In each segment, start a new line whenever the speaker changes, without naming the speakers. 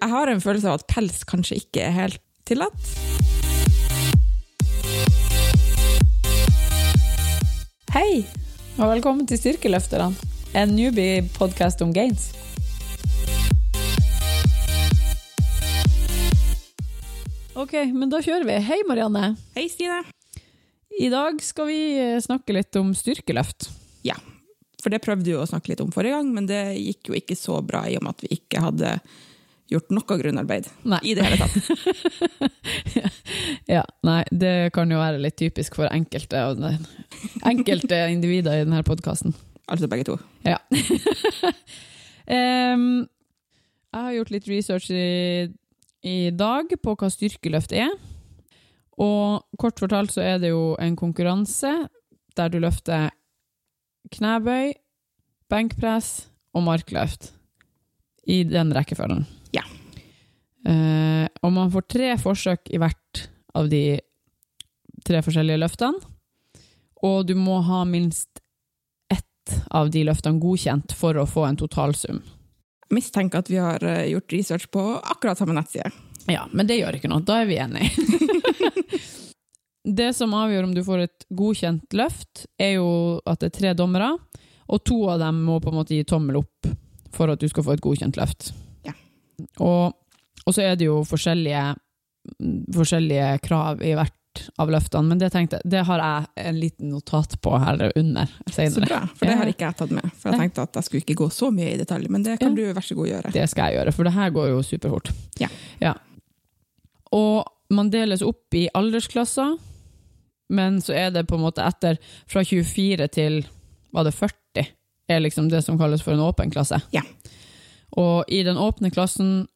Jeg har en følelse av at pels kanskje ikke er helt tillatt.
Hei, og velkommen til Styrkeløfterne, en newbie-podkast om gains. Ok, men da kjører vi. Hei, Marianne.
Hei, Stine.
I dag skal vi eh, snakke litt om styrkeløft.
Ja, for det prøvde vi jo å snakke litt om forrige gang, men det gikk jo ikke så bra i og med at vi ikke hadde gjort noe grunnarbeid
Nei.
i det hele tatt.
Ja, nei, det kan jo være litt typisk for enkelte, av den- enkelte individer i denne podkasten.
Altså begge to.
Ja. Em, Ehm, jeg har gjort litt research i, i dag på hva styrkeløft er. Og kort fortalt så er det jo en konkurranse der du løfter knebøy, benkpress og markløft. I den rekkefølgen.
Ja.
Eh, og man får tre forsøk i hvert av de tre forskjellige løftene. Og du må ha minst av de løftene godkjent for å få en totalsum.
Mistenker at vi har eh, gjort research på akkurat samme nettside.
Ja, men det gjør ikke noe. Da er vi enige. det som avgjør om du får et godkjent løft, er jo at det er tre dommere, og to av dem må på en måte gi tommel opp for at du skal få et godkjent løft.
Ja.
Og, og så er det jo forskjellige, forskjellige krav i hvert av løftene, men det, tenkte, det har jeg en liten notat på her under
Så
senere.
bra, for det
Ja.
har ikke jeg tatt med. For jeg
Nei.
tenkte at jeg skulle ikke gå så mye i detalj, men det kan du vær så god gjøre.
Det skal jeg gjøre, for det her går jo superfort.
Ja.
Og man deles opp i aldersklasser, men så er det på en måte etter fra 24 til var det 40, er liksom det som kalles for en åpen klasse.
Ja.
Og i den åpne klassen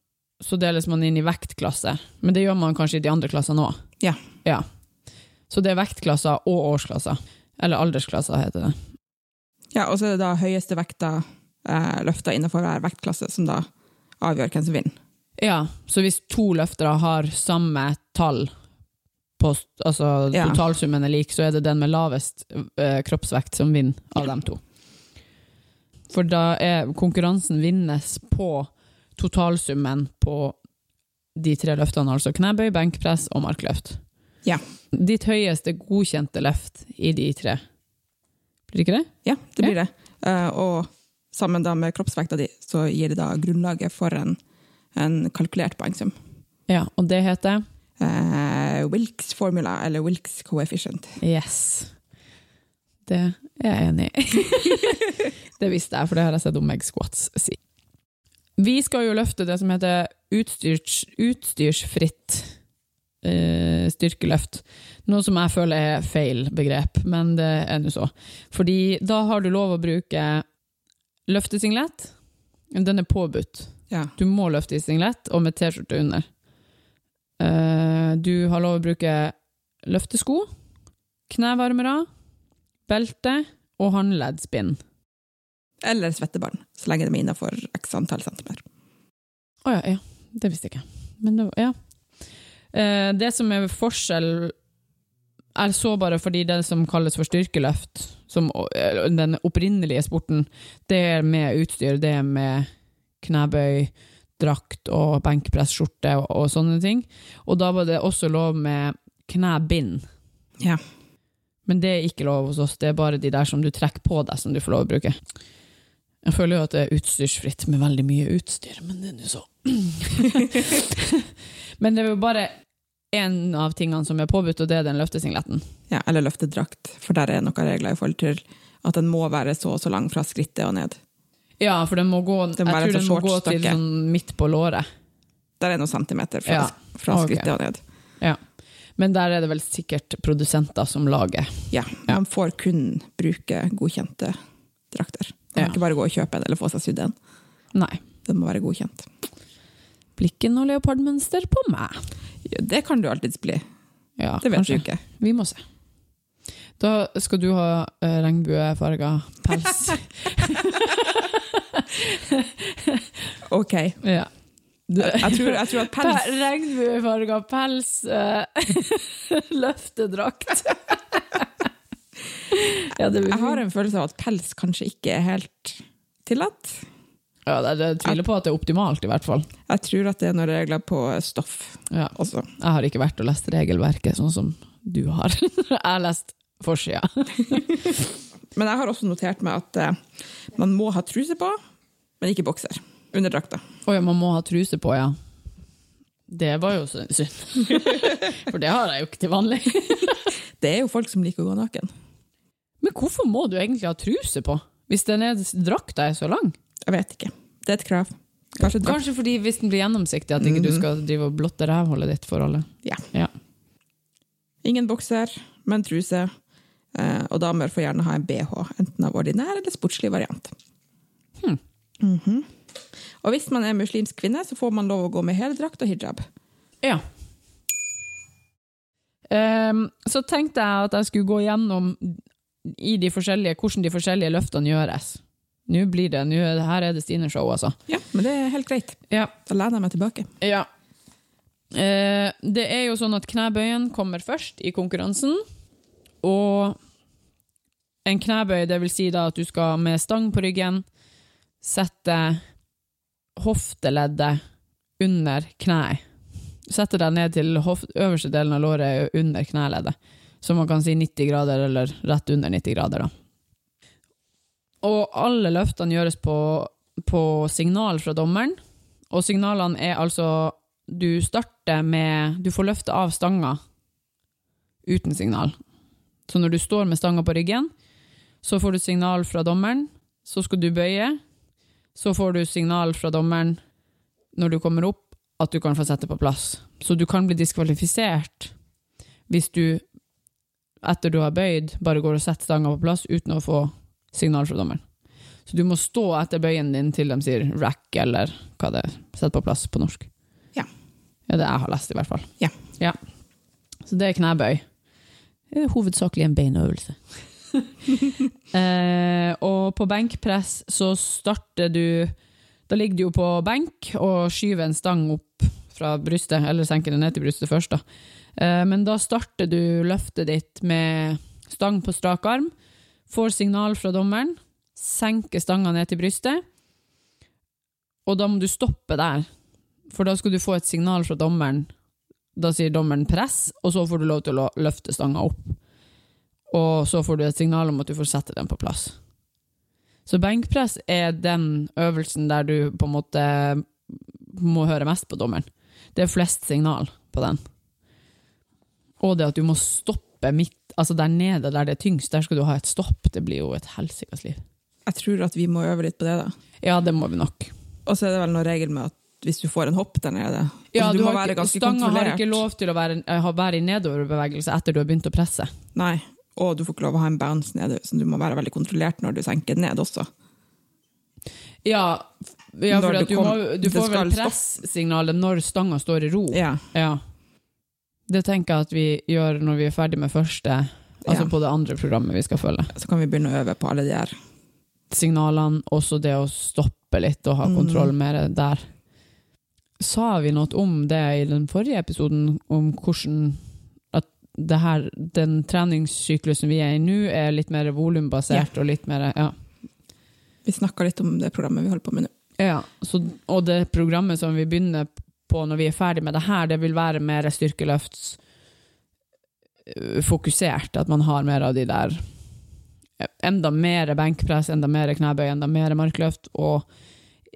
så deles man inn i vektklasser, men det gjør man kanskje i de andre klassene òg.
Ja.
ja. Så det er vektklasser og årsklasser. Eller aldersklasser, heter det.
Ja, og så er det da høyeste vekta eh, løfta innenfor hver vektklasse, som da avgjør hvem som vinner.
Ja, så hvis to løftere har samme tall, på, s- altså
Ja.
totalsummen er lik, så er det den med lavest eh, kroppsvekt som vinner av dem to. For da er konkurransen vinnes på totalsummen på de tre løftene, altså knebøy, benkpress og markløft.
Ja.
Ditt høyeste godkjente løft i de tre. Blir det ikke det?
Ja, det blir det. Eh, og sammen da med kroppsvekta di, så gir det da grunnlaget for en, en kalkulert poengsum.
Ja, og det heter
Eh, Wilks formula, eller Wilks coefficient.
Yes. Det er jeg enig i. det visste jeg, for det har jeg sett om meg squats si. Vi skal jo løfte det som heter utstyrs, utstyrsfritt eh, styrkeløft. Noe som jeg føler er feil begrep, men det er nå så. Fordi da har du lov å bruke løftesinglet. Den er påbudt.
Ja.
Du må løfte i singlet og med T-skjorte under. Eh, Du har lov å bruke løftesko, knevarmere, belte og håndleddsbind.
Eller svettebarn, så lenge de er innenfor x antall centimeter.
Å ja, ja. Det visste jeg ikke. Men det, ja. Eh, det som er forskjell, er så bare fordi det som kalles for styrkeløft, som eh, den opprinnelige sporten, det er med utstyr, det er med knebøy, drakt og benkpressskjorte og, og sånne ting. Og da var det også lov med knebind.
Ja.
Men det er ikke lov hos oss, det er bare de der som du trekker på deg som du får lov å bruke. Jeg føler jo at det er utstyrsfritt med veldig mye utstyr, men det er nå så. men det er jo bare én av tingene som er påbudt, og det er den løftesingletten.
Ja, eller løftedrakt, for der er noen regler i forhold til at den må være så og så lang fra skrittet og ned.
Ja, for den må gå,
Den må være
jeg tror den
for
må gå til
shortstokke.
sånn midt på låret.
Der er noen centimeter fra,
Ja.
fra
Ok.
skrittet og ned.
Men der er det vel sikkert produsenter som lager.
Ja,
Ja.
man får kun bruke godkjente drakter. Man
Ja.
kan ikke bare gå og kjøpe en eller få seg sydd en.
Nei.
Den må være godkjent.
Blikken og leopardmønster på meg.
Ja, det kan du alltids bli.
Ja,
Det vet du
kanskje.
ikke.
Vi må se. Da skal du ha eh, regnbuefarga pels.
Ok.
ja. Du-
Jeg tror, jeg tror at
Pe-
pels
Regnbuefarga pels, eh, løftedrakt. ja, det blir
Jeg har en følelse av at pels kanskje ikke er helt tillatt.
Ja, det, det tviler på at det er optimalt, i hvert fall.
Jeg tror at det er noen regler på stoff
Ja.
også.
Jeg har ikke vært og lest regelverket sånn som du har. Jeg har lest forsida.
Men jeg har også notert meg at eh, man må ha truse på, men ikke bokser. Under drakta.
Oi, man må ha truse på, ja. Det var jo sy- synd. For det har jeg jo ikke til vanlig.
Det er jo folk som liker å gå naken.
Men hvorfor må du egentlig ha truse på? Hvis den er, drakta er så lang?
Jeg vet ikke. Det er et krav. Kanskje drakt.
Kanskje fordi hvis den blir gjennomsiktig, at ikke du skal drive og blotte rævhullet ditt for alle.
Ja.
Ja.
Ingen bokser, men truse. Eh, og damer får gjerne ha en bh, enten av ordinær eller sportslig variant.
Hmm.
Mhm. Og hvis man er muslimsk kvinne, så får man lov å gå med heldrakt og hijab.
Ja. Ehm, så tenkte jeg at jeg skulle gå gjennom i de forskjellige, hvordan de forskjellige løftene gjøres. Nå blir det, nå er det, her er det Stine-show, altså.
Ja, men det er helt greit.
Ja.
Da lener jeg meg tilbake.
ja. Eh, det er jo sånn at knebøyen kommer først i konkurransen, og en knebøy, det vil si da at du skal med stang på ryggen, sette hofteleddet under knæet. Sette deg ned til hof- øverste delen av låret under kneleddet. Så man kan si 90 grader, eller rett under 90 grader, da. Og alle løftene gjøres på, på signal fra dommeren, og signalene er altså Du starter med Du får løfte av stanga uten signal. Så når du står med stanga på ryggen, så får du signal fra dommeren, så skal du bøye, så får du signal fra dommeren når du kommer opp, at du kan få sette på plass. Så du kan bli diskvalifisert hvis du, etter du har bøyd, bare går og setter stanga på plass uten å få signal fra dommeren. Så du må stå etter bøyen din til de sier rack, eller hva det er, sett på plass på norsk.
Ja.
Ja, det jeg har lest i hvert fall.
Ja.
ja. Så det er knebøy. Det er hovedsakelig en beinøvelse. Eh, og på benkpress så starter du Da ligger du jo på benk og skyver en stang opp fra brystet, eller senker den ned til brystet først, da. Eh, men da starter du løftet ditt med stang på strak arm, får signal fra dommeren, senker stanga ned til brystet, og da må du stoppe der. For da skal du få et signal fra dommeren. Da sier dommeren press, og så får du lov til å løfte stanga opp og så får du et signal om at du får sette den på plass. Så benkpress er den øvelsen der du på en måte må høre mest på dommeren. Det er flest signal på den. Og det at du må stoppe midt, altså der nede, der det er tyngst, der skal du ha et stopp. Det blir jo et helsikas liv.
Jeg tror at vi må øve litt på det, da.
Ja, det må vi nok.
Og så er det vel noen regel med at hvis du får en hopp der nede
Ja,
altså,
du
må
har
være
ikke,
ganske
stanga har
kontrollert.
ikke lov til å være, eh, ha- være i nedoverbevegelse etter du har begynt å presse.
Nei, og du får ikke lov å ha en bounce nede, så du må være veldig kontrollert når du senker ned også.
Oh. Ja, f- ja
Når
for
du
at du,
kom-
må, du
det
får
skal
vel
stoppe.
pressignalet når stanga står i ro.
Ja.
Ja. Det tenker jeg at vi gjør når vi er ferdig med første, altså
Ja.
på det andre programmet vi skal følge.
Så kan vi begynne å øve på alle de her.
Signalene, også det å stoppe litt og ha
Mm.
kontroll mer der. Sa vi noe om det i den forrige episoden, om hvordan at det her, den treningssyklusen vi er i nå, er litt mer volumbasert og litt mer ja.
Vi snakka litt om det programmet vi holder på med nå.
Ja, så, og det programmet som vi begynner på når vi er ferdig med det her, det vil være mer styrkeløfts øh, fokusert, at man har mer av de der øh, enda mer benkpress, enda mer knebøy, enda mer markløft, og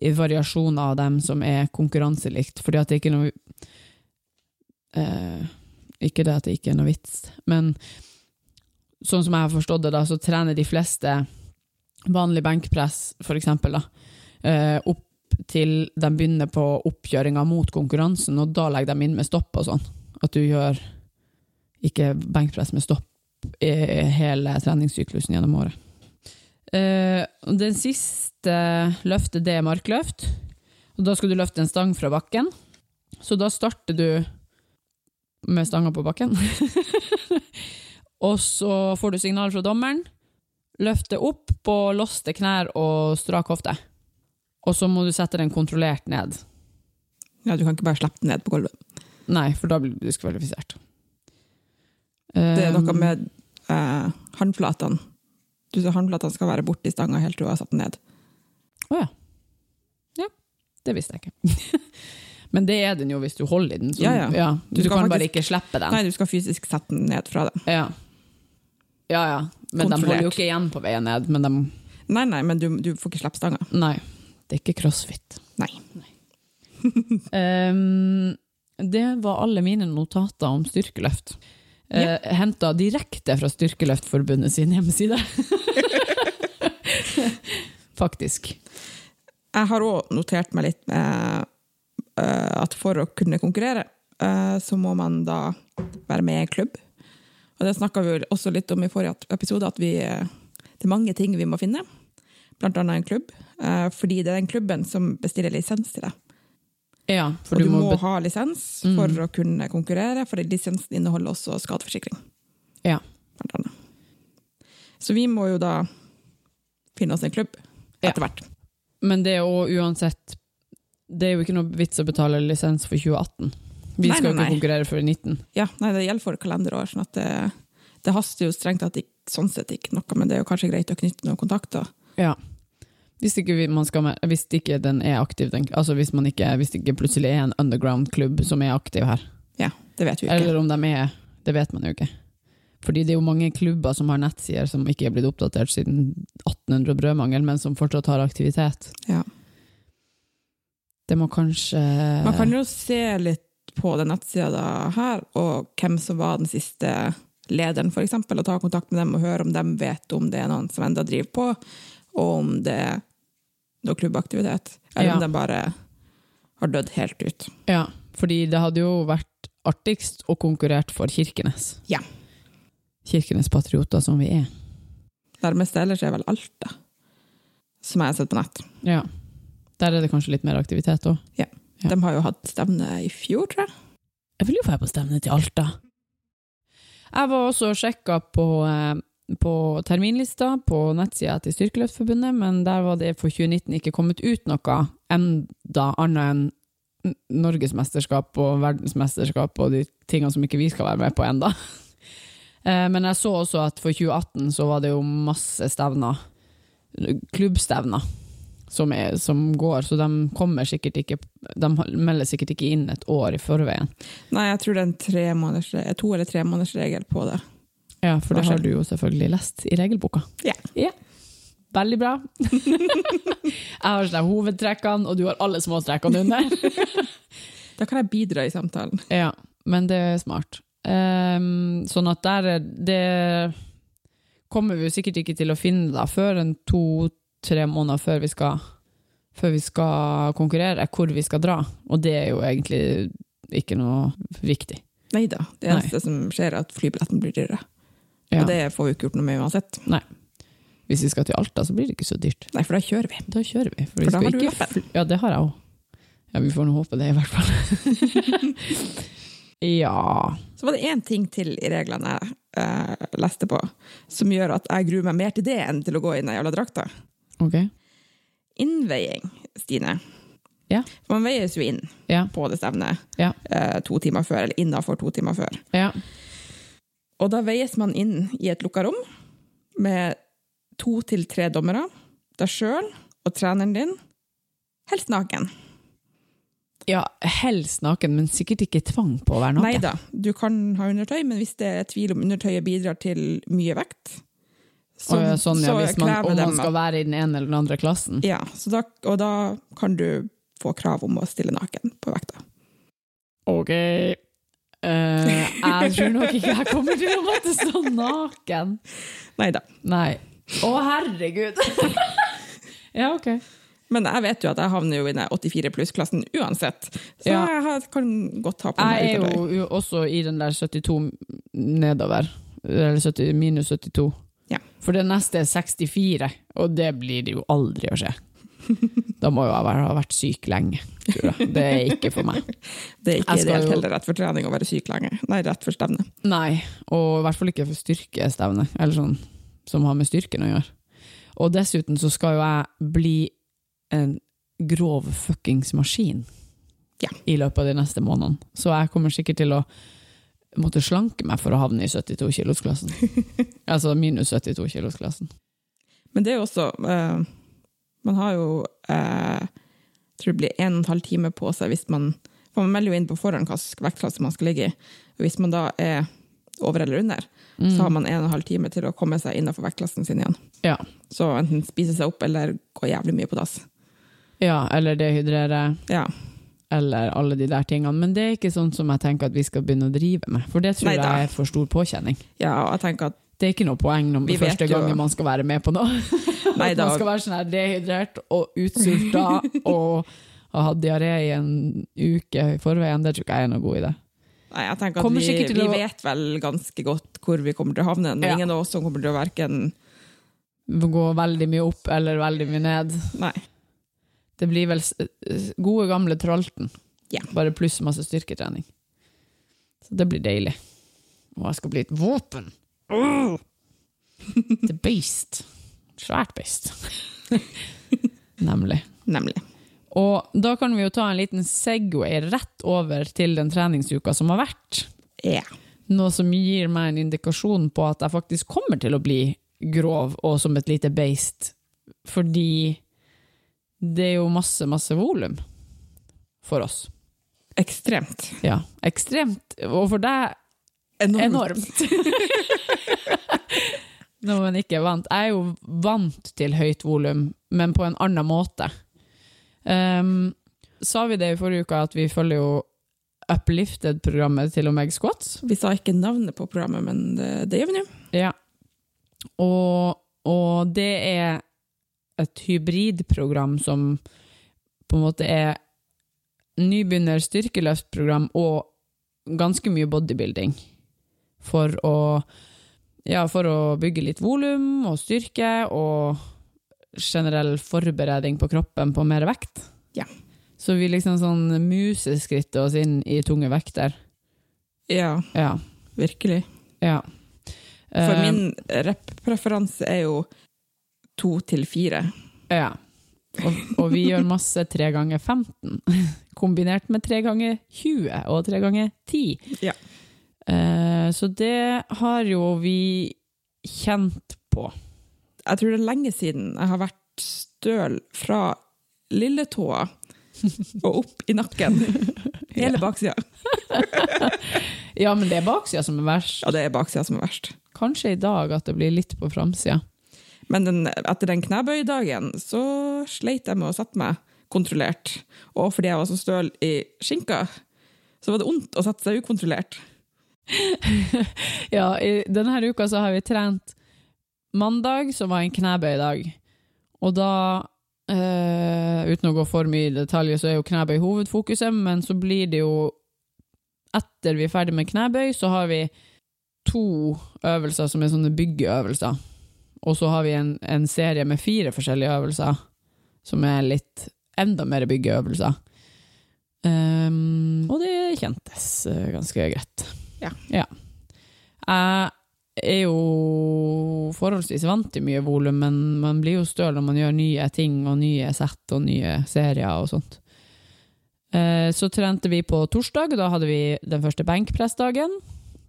i variasjoner av dem som er konkurranselikt, fordi at det ikke er noe eh, ikke det at det ikke er noe vits, men sånn som jeg har forstått det da, så trener de fleste vanlig benkpress, for eksempel da, eh, opp til de begynner på oppkjøringa mot konkurransen, og da legger de inn med stopp og sånn. At du gjør ikke benkpress med stopp i hele treningssyklusen gjennom året. Eh, og den siste løftet, det er markløft. Og da skal du løfte en stang fra bakken. Så da starter du med stanga på bakken. og så får du signal fra dommeren. Løfte opp på låste knær og strak hofte. Og så må du sette den kontrollert ned.
Ja, du kan ikke bare slippe den ned på gulvet.
Nei, for da blir du diskvalifisert.
Det er noe
Um,
med eh, håndflatene. Du sa håndflatene skal være borti stanga helt til du har satt den ned.
Å ja. Det visste jeg ikke. Men det er den jo hvis du holder i den. Så,
Ja, ja.
Du,
Du skal
kan bare
faktisk-
ikke slippe den.
Nei, du skal fysisk sette den ned fra dem.
Ja. ja, ja. Men de holder jo
Kontrollert.
ikke igjen på veien ned. Men de
Nei, nei, men du, du får ikke slippe stanga.
Nei, det er ikke crossfit.
Nei.
Ehm, det var alle mine notater om styrkeløft. Uh, Henta direkte fra Styrkeløftforbundet sin hjemmeside. Faktisk.
Jeg har òg notert meg litt med eh, at for å kunne konkurrere, eh, så må man da være med i en klubb. Og det snakka vi jo også litt om i forrige at- episode, at vi, eh, det er mange ting vi må finne. Blant annet en klubb. eh, fordi det er den klubben som bestiller lisens til deg.
Ja, for
Og
du, må, bet- Mm.
ha lisens for å kunne konkurrere, for lisensen inneholder også skadeforsikring.
Ja.
Blant annet. Så vi må jo da finne oss en klubb
Ja.
etter hvert.
Men det er jo uansett Det er jo ikke noe vits å betale lisens for 2018. Vi
Nei,
skal jo
nei,
ikke
nei.
konkurrere for 19.
Ja, nei, det gjelder for kalenderår, sånn at det, det haster jo strengt tatt ikke- sånn sett ikke noe, men det er jo kanskje greit å knytte noen kontakter.
Ja. Hvis ikke, vi- man skal, mer- hvis ikke den er aktiv, den, altså hvis, man ikke, hvis det ikke plutselig er en underground-klubb som er aktiv her.
Ja, det vet vi jo ikke.
Eller om de er Det vet man jo ikke. Fordi det er jo mange klubber som har nettsider som ikke er blitt oppdatert siden 1800 og brødmangel, men som fortsatt har aktivitet.
Ja.
Det må kanskje
Man kan jo se litt på den nettsida da her, og hvem som var den siste lederen, for eksempel, og ta kontakt med dem og høre om de vet om det er noen som enda driver på, og om det er noe klubbaktivitet, eller om
Ja.
de bare har dødd helt ut.
Ja, fordi det hadde jo vært artigst å konkurrert for Kirkenes.
Ja.
Kirkenes patrioter som vi er.
Nærmeste ellers er vel Alta, som jeg har sett på nett.
Ja. Der er det kanskje litt mer aktivitet òg. Ja.
De har jo hatt stevne i fjor, tror jeg.
Jeg vil jo få på stevne til Alta. Jeg var også og sjekka på, eh, på terminlista på nettsida til Styrkeløftforbundet, men der var det for 2019 ikke kommet ut noe enda annet enn N- Norgesmesterskap og verdensmesterskap og de tingene som ikke vi skal være med på enda. Eh, Men jeg så også at for 2018 så var det jo masse stevner, klubbstevner, som, er, som går, så de kommer sikkert ikke, de melder sikkert ikke inn et år i forveien.
Nei, jeg tror det er en tre måneders, to eller tre måneders regel på det.
Ja, for det
Varsel.
har du jo selvfølgelig lest i regelboka.
Ja.
Veldig bra. jeg har sånn her hovedtrekkene, og du har alle småtrekkene under.
Da kan jeg bidra i samtalen.
ja, men det er smart. Ehm, sånn at der er det kommer vi jo sikkert ikke til å finne da, før en to-tre måneder før vi, skal, før vi skal konkurrere, hvor vi skal dra. Og det er jo egentlig ikke noe viktig.
Nei da, det
Nei.
eneste som skjer er at flybilletten blir dyrere. Og
Ja.
det får vi ikke gjort noe med uansett.
Hvis vi skal til Alta, så blir det ikke så dyrt.
Nei, for da kjører vi.
Da kjører vi. For,
For
vi
da
skal
har du
ikke
lappen.
fly- Ja, det har jeg òg. Ja, vi får nå håpe det, i hvert fall. ja.
Så var det én ting til i reglene jeg eh, leste på, som gjør at jeg gruer meg mer til det enn til å gå i den jævla drakta.
Ok.
Innveiing, Stine.
Ja.
For man veies jo inn
Ja.
på det stevnet
Ja.
eh, to timer før, eller innafor to timer før.
ja.
Og da veies man inn i et lukka rom med to til tre dommere, deg sjøl og treneren din, helst naken.
Ja, helst naken, men sikkert ikke tvang på å være
Nei
naken.
da, du kan ha undertøy, men hvis det er tvil om undertøyet bidrar til mye vekt, så,
Å, ja, sånn, ja,
så
hvis man,
krever
om
dem-
man skal være i den ene eller den andre klassen.
Ja, så da, og da kan du få krav om å stille naken på vekta.
Ok. Eh, jeg tror nok ikke jeg kommer til å måtte stå naken.
Nei da.
Nei. Å, herregud! ja, ok.
Men jeg vet jo at jeg havner jo i den 84 pluss-klassen uansett, så
Ja.
jeg har- kan godt ha på
Jeg
meg
er
undertøy.
jo jo også i den der 72 nedover. Eller 70, minus 72.
Ja.
For det neste er 64, og det blir det jo aldri å skje. Da må jo jeg være, ha vært syk lenge. Tror jeg. Det er ikke for meg.
Det er ikke
Jeg skal
ideelt
jo-
heller rett for trening å være syk lenge. Nei, rett for stevne.
Nei, og i hvert fall ikke for styrkestevne, eller sånn, som har med styrken å gjøre. Og dessuten så skal jo jeg bli en grov fuckings maskin
Ja.
i løpet av de neste månedene. Så jeg kommer sikkert til å måtte slanke meg for å havne i 72 kilosklassen. altså minus 72 kilosklassen.
Men det er jo også eh, Man har jo eh, tror det blir en og en halv time på seg hvis man For man melder jo inn på forhånd hvilken vektklasse man skal ligge i. Og hvis man da er over eller under, så har man en og en halv time til å komme seg innenfor vektklassen sin igjen.
Mm. Ja.
Så enten spise seg opp eller gå jævlig mye på dass.
ja, eller dehydrere,
Ja.
eller alle de der tingene. Men det er ikke sånn som jeg tenker at vi skal begynne å drive med, for det tror
Neida.
jeg er for stor påkjenning.
ja, og jeg tenker at
Det er ikke noe poeng når
Vi vet
første
jo-
gangen man skal være med på noe.
Nei
At
da.
man skal være sånn her dehydrert og utsulta og ha hatt diaré i en uke i forveien. Det tror ikke jeg er noe god idé.
Nei, jeg tenker at
Kommer
vi,
sikkert til
vi
å-
vet vel ganske godt hvor vi kommer til å havne. Men
Ja.
ingen av oss som kommer til å verken
Gå veldig mye opp eller veldig mye ned.
Nei.
Det blir vel s- s- gode gamle trolten.
Ja.
Bare pluss masse styrketrening. Så det blir deilig. Og jeg skal bli et våpen! Åh! Det er beist. Svært beist. Nemlig.
Nemlig.
Og da kan vi jo ta en liten Segway rett over til den treningsuka som har vært.
Ja.
Noe som gir meg en indikasjon på at jeg faktisk kommer til å bli grov og som et lite beist. Fordi det er jo masse, masse volum for oss.
Ekstremt.
Ja, ekstremt. Og for deg enormt. Når man ikke er vant. Jeg er jo vant til høyt volum, men på en annen måte. Ehm, sa vi det i forrige uke, at vi følger jo Uplifted-programmet til Omeg Squats?
Vi sa ikke navnet på programmet, men det, det gjør vi nå.
Ja. Og, og det er et hybridprogram som på en måte er nybegynner styrkeløftprogram og ganske mye bodybuilding. For å, ja, for å bygge litt volum og styrke og generell forberedning på kroppen på mer vekt.
Ja.
Så vi liksom sånn museskritter oss inn i tunge vekter.
Ja,
Ja.
virkelig.
ja.
For
Eh,
min rep-preferanse er jo to til fire.
Ja. Og, og vi gjør masse 3 ganger 15, kombinert med 3 ganger 20 og 3 ganger 10.
Ja.
Eh, så det har jo vi kjent på.
Jeg tror det er lenge siden jeg har vært støl fra lilletåa og opp i nakken. Hele baksida.
Ja, men det er baksida som er verst.
Ja, det er baksida som er verst.
Kanskje i dag at det blir litt på framsida.
Men den, etter den knebøydagen så sleit jeg med å sette meg kontrollert. Og fordi jeg var så støl i skinka, så var det vondt å sette seg ukontrollert.
Ja, i denne uka så har vi trent mandag, som var en knebøydag. Og da, eh, uten å gå for mye i detaljer, så er jo knebøy hovedfokuset, men så blir det jo Etter vi er ferdig med knebøy, så har vi to øvelser som er sånne byggeøvelser. Og så har vi en, en serie med fire forskjellige øvelser, som er litt enda mer byggeøvelser. Ehm, og det kjentes eh, ganske greit.
Ja.
ja. Jeg er jo forholdsvis vant til mye volum, men man blir jo støl når man gjør nye ting og nye sett og nye serier og sånt. Eh, Så trente vi på torsdag, da hadde vi den første benkpressdagen.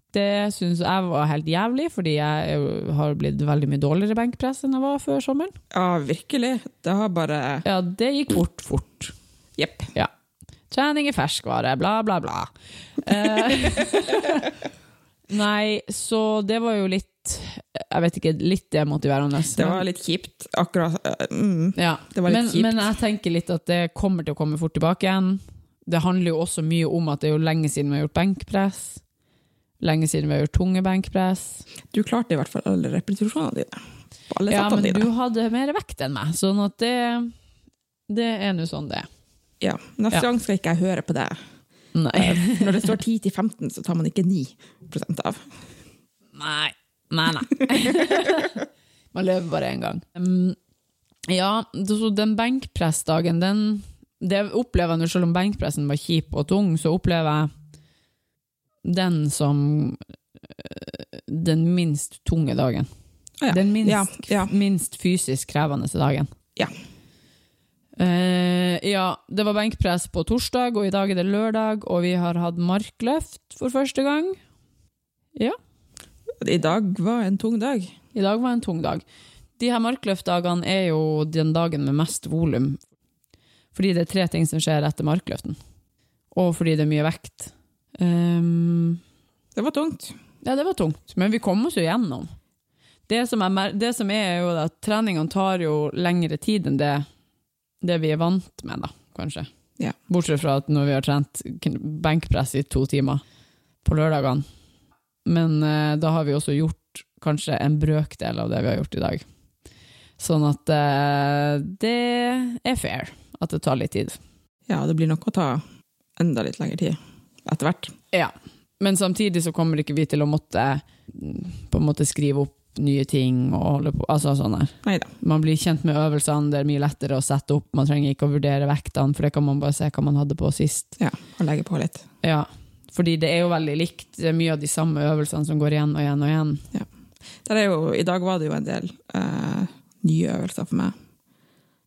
Det syns jeg var helt jævlig, fordi jeg er jo- har blitt veldig mye dårligere benkpress enn jeg var før sommeren.
Ja, virkelig. Det har bare
Ja, det gikk bort fort.
Jepp.
Trening i ferskvare, bla, bla, bla. Eh, Nei, så det var jo litt Jeg vet ikke, litt demotiverende.
Det var litt kjipt. Akkurat eh, mm.
Ja,
Det var litt
men,
kjipt.
Men jeg tenker litt at det kommer til å komme fort tilbake igjen. Det handler jo også mye om at det er jo lenge siden vi har gjort benkpress. Lenge siden vi har gjort tunge benkpress.
Du klarte i hvert fall alle repetisjonene dine. På alle
Ja,
settene
men
dine.
du hadde mer vekt enn meg, sånn at det, det er nå sånn det er.
Ja. Neste
Ja.
gang skal ikke jeg høre på deg.
Nei.
Når det står 10 til 15, så tar man ikke 9 av.
Nei. Nei, nei. Man lever bare én gang. Um, ja, så den benkpressdagen, den Det opplever jeg nå, selv om benkpressen var kjip og tung, så opplever jeg den som øh, den minst tunge dagen.
Ja.
Den minst,
Ja, ja.
minst fysisk krevende dagen.
Ja.
Eh, ja, det var benkpress på torsdag, og i dag er det lørdag, og vi har hatt markløft for første gang. Ja.
I dag var en tung dag.
I dag var en tung dag. De her markløftdagene er jo den dagen med mest volum. Fordi det er tre ting som skjer etter markløften. Og fordi det er mye vekt. Ehm,
Det var tungt.
ja, det var tungt, men vi kom oss jo gjennom. Det som, er, mer- det som er jo at treningene tar jo lengre tid enn det, det vi er vant med, da, kanskje.
Ja.
Bortsett fra at når vi har trent kn- benkpress i to timer på lørdagene. Men eh, da har vi også gjort kanskje en brøkdel av det vi har gjort i dag. Sånn at eh, det er fair at det tar litt tid.
Ja, det blir nok å ta enda litt lengre tid etter hvert.
Ja, men samtidig så kommer ikke vi til å måtte mm, på en måte skrive opp nye ting og holde på, altså sånn her.
Neida.
Man blir kjent med øvelsene, det er mye lettere å sette opp, man trenger ikke å vurdere vektene, for det kan man bare se hva man hadde på sist.
Ja, å legge på litt.
Ja, fordi det er jo veldig likt, det er mye av de samme øvelsene som går igjen og igjen og igjen.
Der er jo, I dag var det jo en del eh, nye øvelser for meg.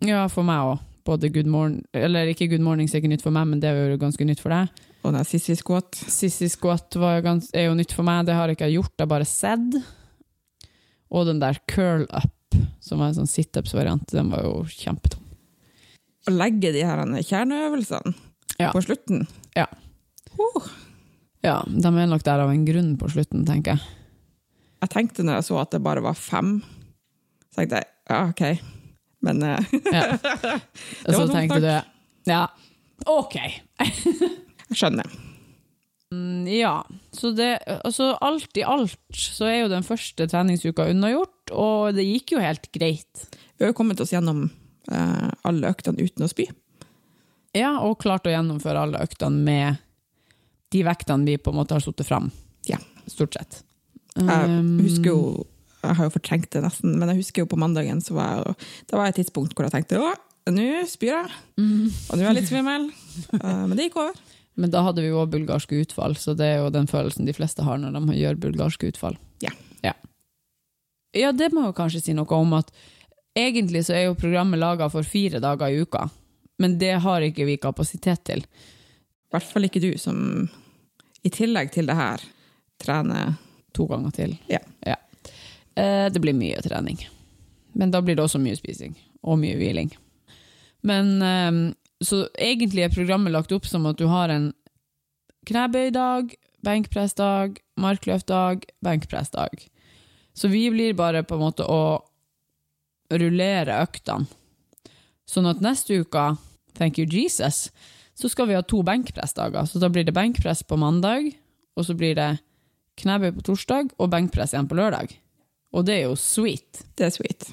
Ja, for meg også. Både good morning, eller ikke good morning, så er ikke nytt for meg, men det er jo ganske nytt for deg.
Og den sissy squat.
Sissy squat var jo gans, er jo nytt for meg. Det har jeg ikke gjort, jeg har bare sett. Og den der curl up, som var en sånn situps-variant, den var jo kjempetom.
Å legge de her kjerneøvelsene
Ja.
på slutten.
Ja.
Oh,
Ja, de er nok der av en grunn på slutten, tenker jeg.
jeg tenkte når jeg så at det bare var fem, så tenkte jeg ja, OK. Men eh,
Ja. Og
Det
så
var dumt,
tenkte du Ja, OK.
jeg skjønner.
Mm, Ja. Så det, altså alt i alt så er jo den første treningsuka unnagjort, og det gikk jo helt greit.
Vi har jo kommet oss gjennom eh, alle øktene uten å spy.
Ja, og klart å gjennomføre alle øktene med de vektene vi på en måte har satt fram.
Ja.
Stort sett.
Jeg
Um,
husker jo Jeg har jo fortrengt det nesten, men jeg husker jo på mandagen så var jeg, Det var et tidspunkt hvor jeg tenkte Å, nå spyr jeg, og nå er jeg litt svimmel. Eh, men det gikk over.
Men da hadde vi jo også bulgarske utfall, så det er jo den følelsen de fleste har når de gjør bulgarske utfall.
Ja.
Ja, ja det må jo kanskje si noe om at egentlig så er jo programmet laga for fire dager i uka, men det har ikke vi kapasitet til.
I hvert fall ikke du som i tillegg til det her trener
To ganger til.
Ja.
Eh, det blir mye trening. Men da blir det også mye spising og mye hviling. Men eh, så egentlig er programmet lagt opp som at du har en knebøydag, benkpressdag, markløftdag, benkpressdag. Så vi blir bare på en måte å rullere øktene. Sånn at neste uke, thank you Jesus, så skal vi ha to benkpressdager. Så da blir det benkpress på mandag, og så blir det knebøy på torsdag og benkpress igjen på lørdag. Og det er jo sweet.
Det er sweet.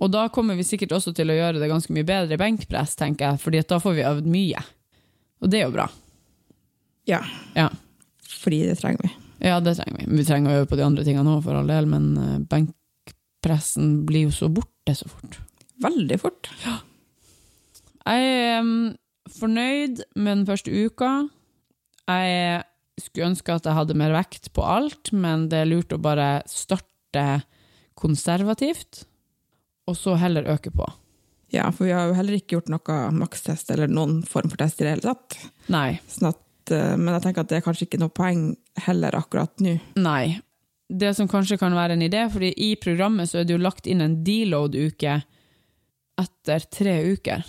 Og da kommer vi sikkert også til å gjøre det ganske mye bedre i benkpress, tenker jeg, fordi at da får vi øvd mye. Og det er jo bra.
Ja.
Ja.
Fordi det trenger vi.
Ja, det trenger vi. Men Vi trenger å øve på de andre tingene òg, for all del, men eh, benkpressen blir jo så borte så fort.
Veldig fort.
Jeg er um, fornøyd med den første uka. Jeg skulle ønske at jeg hadde mer vekt på alt, men det er lurt å bare starte konservativt, og så heller øke på.
Ja, for vi har jo heller ikke gjort noe makstest eller noen form for test i det hele tatt.
Nei.
Sånn at, eh, men jeg tenker at det er kanskje ikke noe poeng heller akkurat nå.
Nei. Det som kanskje kan være en idé, fordi i programmet så er det jo lagt inn en deload-uke etter tre uker.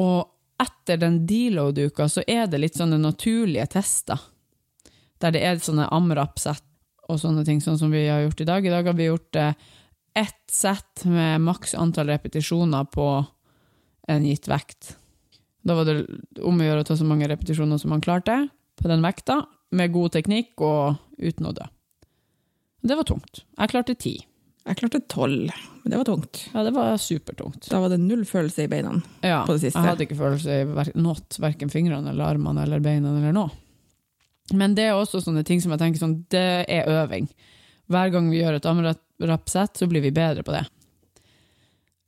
Og etter den deload-uka så er det litt sånne naturlige tester, der det er sånne amrap-sett og sånne ting, sånn som vi har gjort i dag. I dag har vi gjort eh, ett sett med maks antall repetisjoner på en gitt vekt. Da var det om å gjøre å ta så mange repetisjoner som man klarte på den vekta, med god teknikk og uten å dø. Det var tungt. Jeg klarte ti.
Jeg klarte tolv, men det var tungt.
Ja, det var supertungt.
Da var det null følelse i beina.
Ja,
På det siste.
Jeg hadde ikke følelse i hver, noe, verken fingrene eller armene eller beina eller noe. Men det er også sånne ting som jeg tenker sånn, det er øving. Hver gang vi gjør et amrap-sett, så blir vi bedre på det.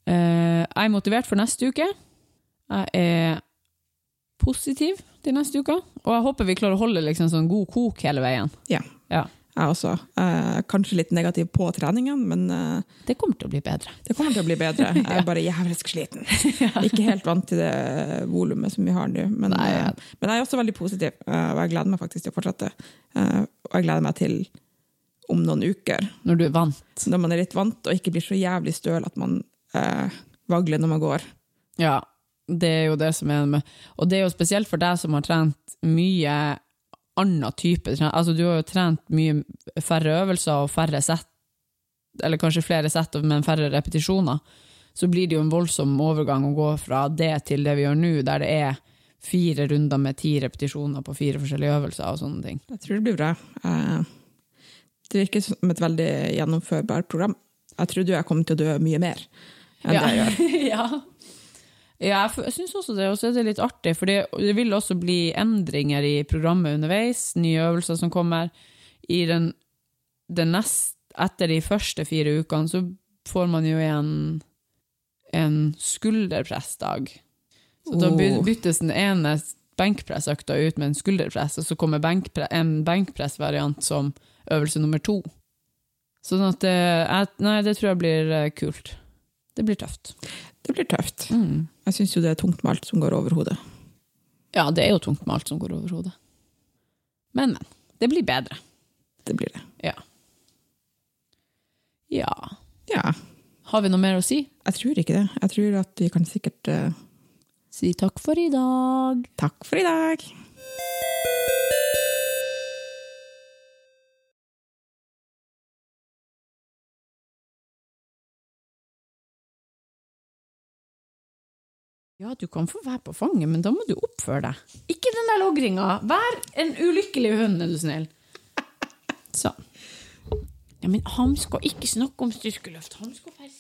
Eh, jeg er motivert for neste uke. Jeg er positiv til neste uke. Og jeg håper vi klarer å holde liksom sånn god kok hele veien.
Jeg også. Eh, kanskje litt negativ på treningen, men eh,
Det kommer til å bli bedre.
det kommer til å bli bedre. Jeg er bare jævlig sliten. Ikke helt vant til det volumet som vi har nå. Men,
Nei, ja.
eh, men jeg er også veldig positiv, eh, og jeg gleder meg faktisk til å fortsette. Eh, og jeg gleder meg til om noen uker,
Når du er vant.
når man er litt vant og ikke blir så jævlig støl at man eh, vagler når man går.
Ja. Det er jo det som er med Og det er jo spesielt for deg som har trent mye annen type trening. Altså, du har jo trent mye færre øvelser og færre sett, eller kanskje flere sett, men færre repetisjoner. Så blir det jo en voldsom overgang å gå fra det til det vi gjør nå, der det er fire runder med ti repetisjoner på fire forskjellige øvelser og sånne ting.
Jeg tror det blir bra. Eh, Det virker som et veldig gjennomførbart program. Jeg trodde jo jeg kom til å dø mye mer enn det jeg gjør.
ja. ja jeg f- jeg syns også det. Og så er det litt artig, for det det vil også bli endringer i programmet underveis. Nye øvelser som kommer. I den, den nest, etter de første fire ukene så får man jo igjen en skulderpressdag. Så da by-
Oh.
byttes den ene benkpressøkta ut med en skulderpress, og så kommer benkpre en benkpressvariant som øvelse nummer to. Sånn at det, jeg, Nei, det tror jeg blir eh, kult. Det blir tøft.
Det blir tøft. Jeg syns jo det er tungt med alt som går over hodet.
Ja, det er jo tungt med alt som går over hodet. Men, men. Det blir bedre.
Det blir det.
Ja. Ja.
Ja,
Har vi noe mer å si?
jeg tror ikke det. Jeg tror at vi kan sikkert eh,
Si takk for i dag.
Takk for i dag!
Ja, du kan få være på fanget, men da må du oppføre deg. Ikke den der logringa. Vær en ulykkelig hund, er du snill. Sånn. Ja, men han skal ikke snakke om styrkeløft. Han skal være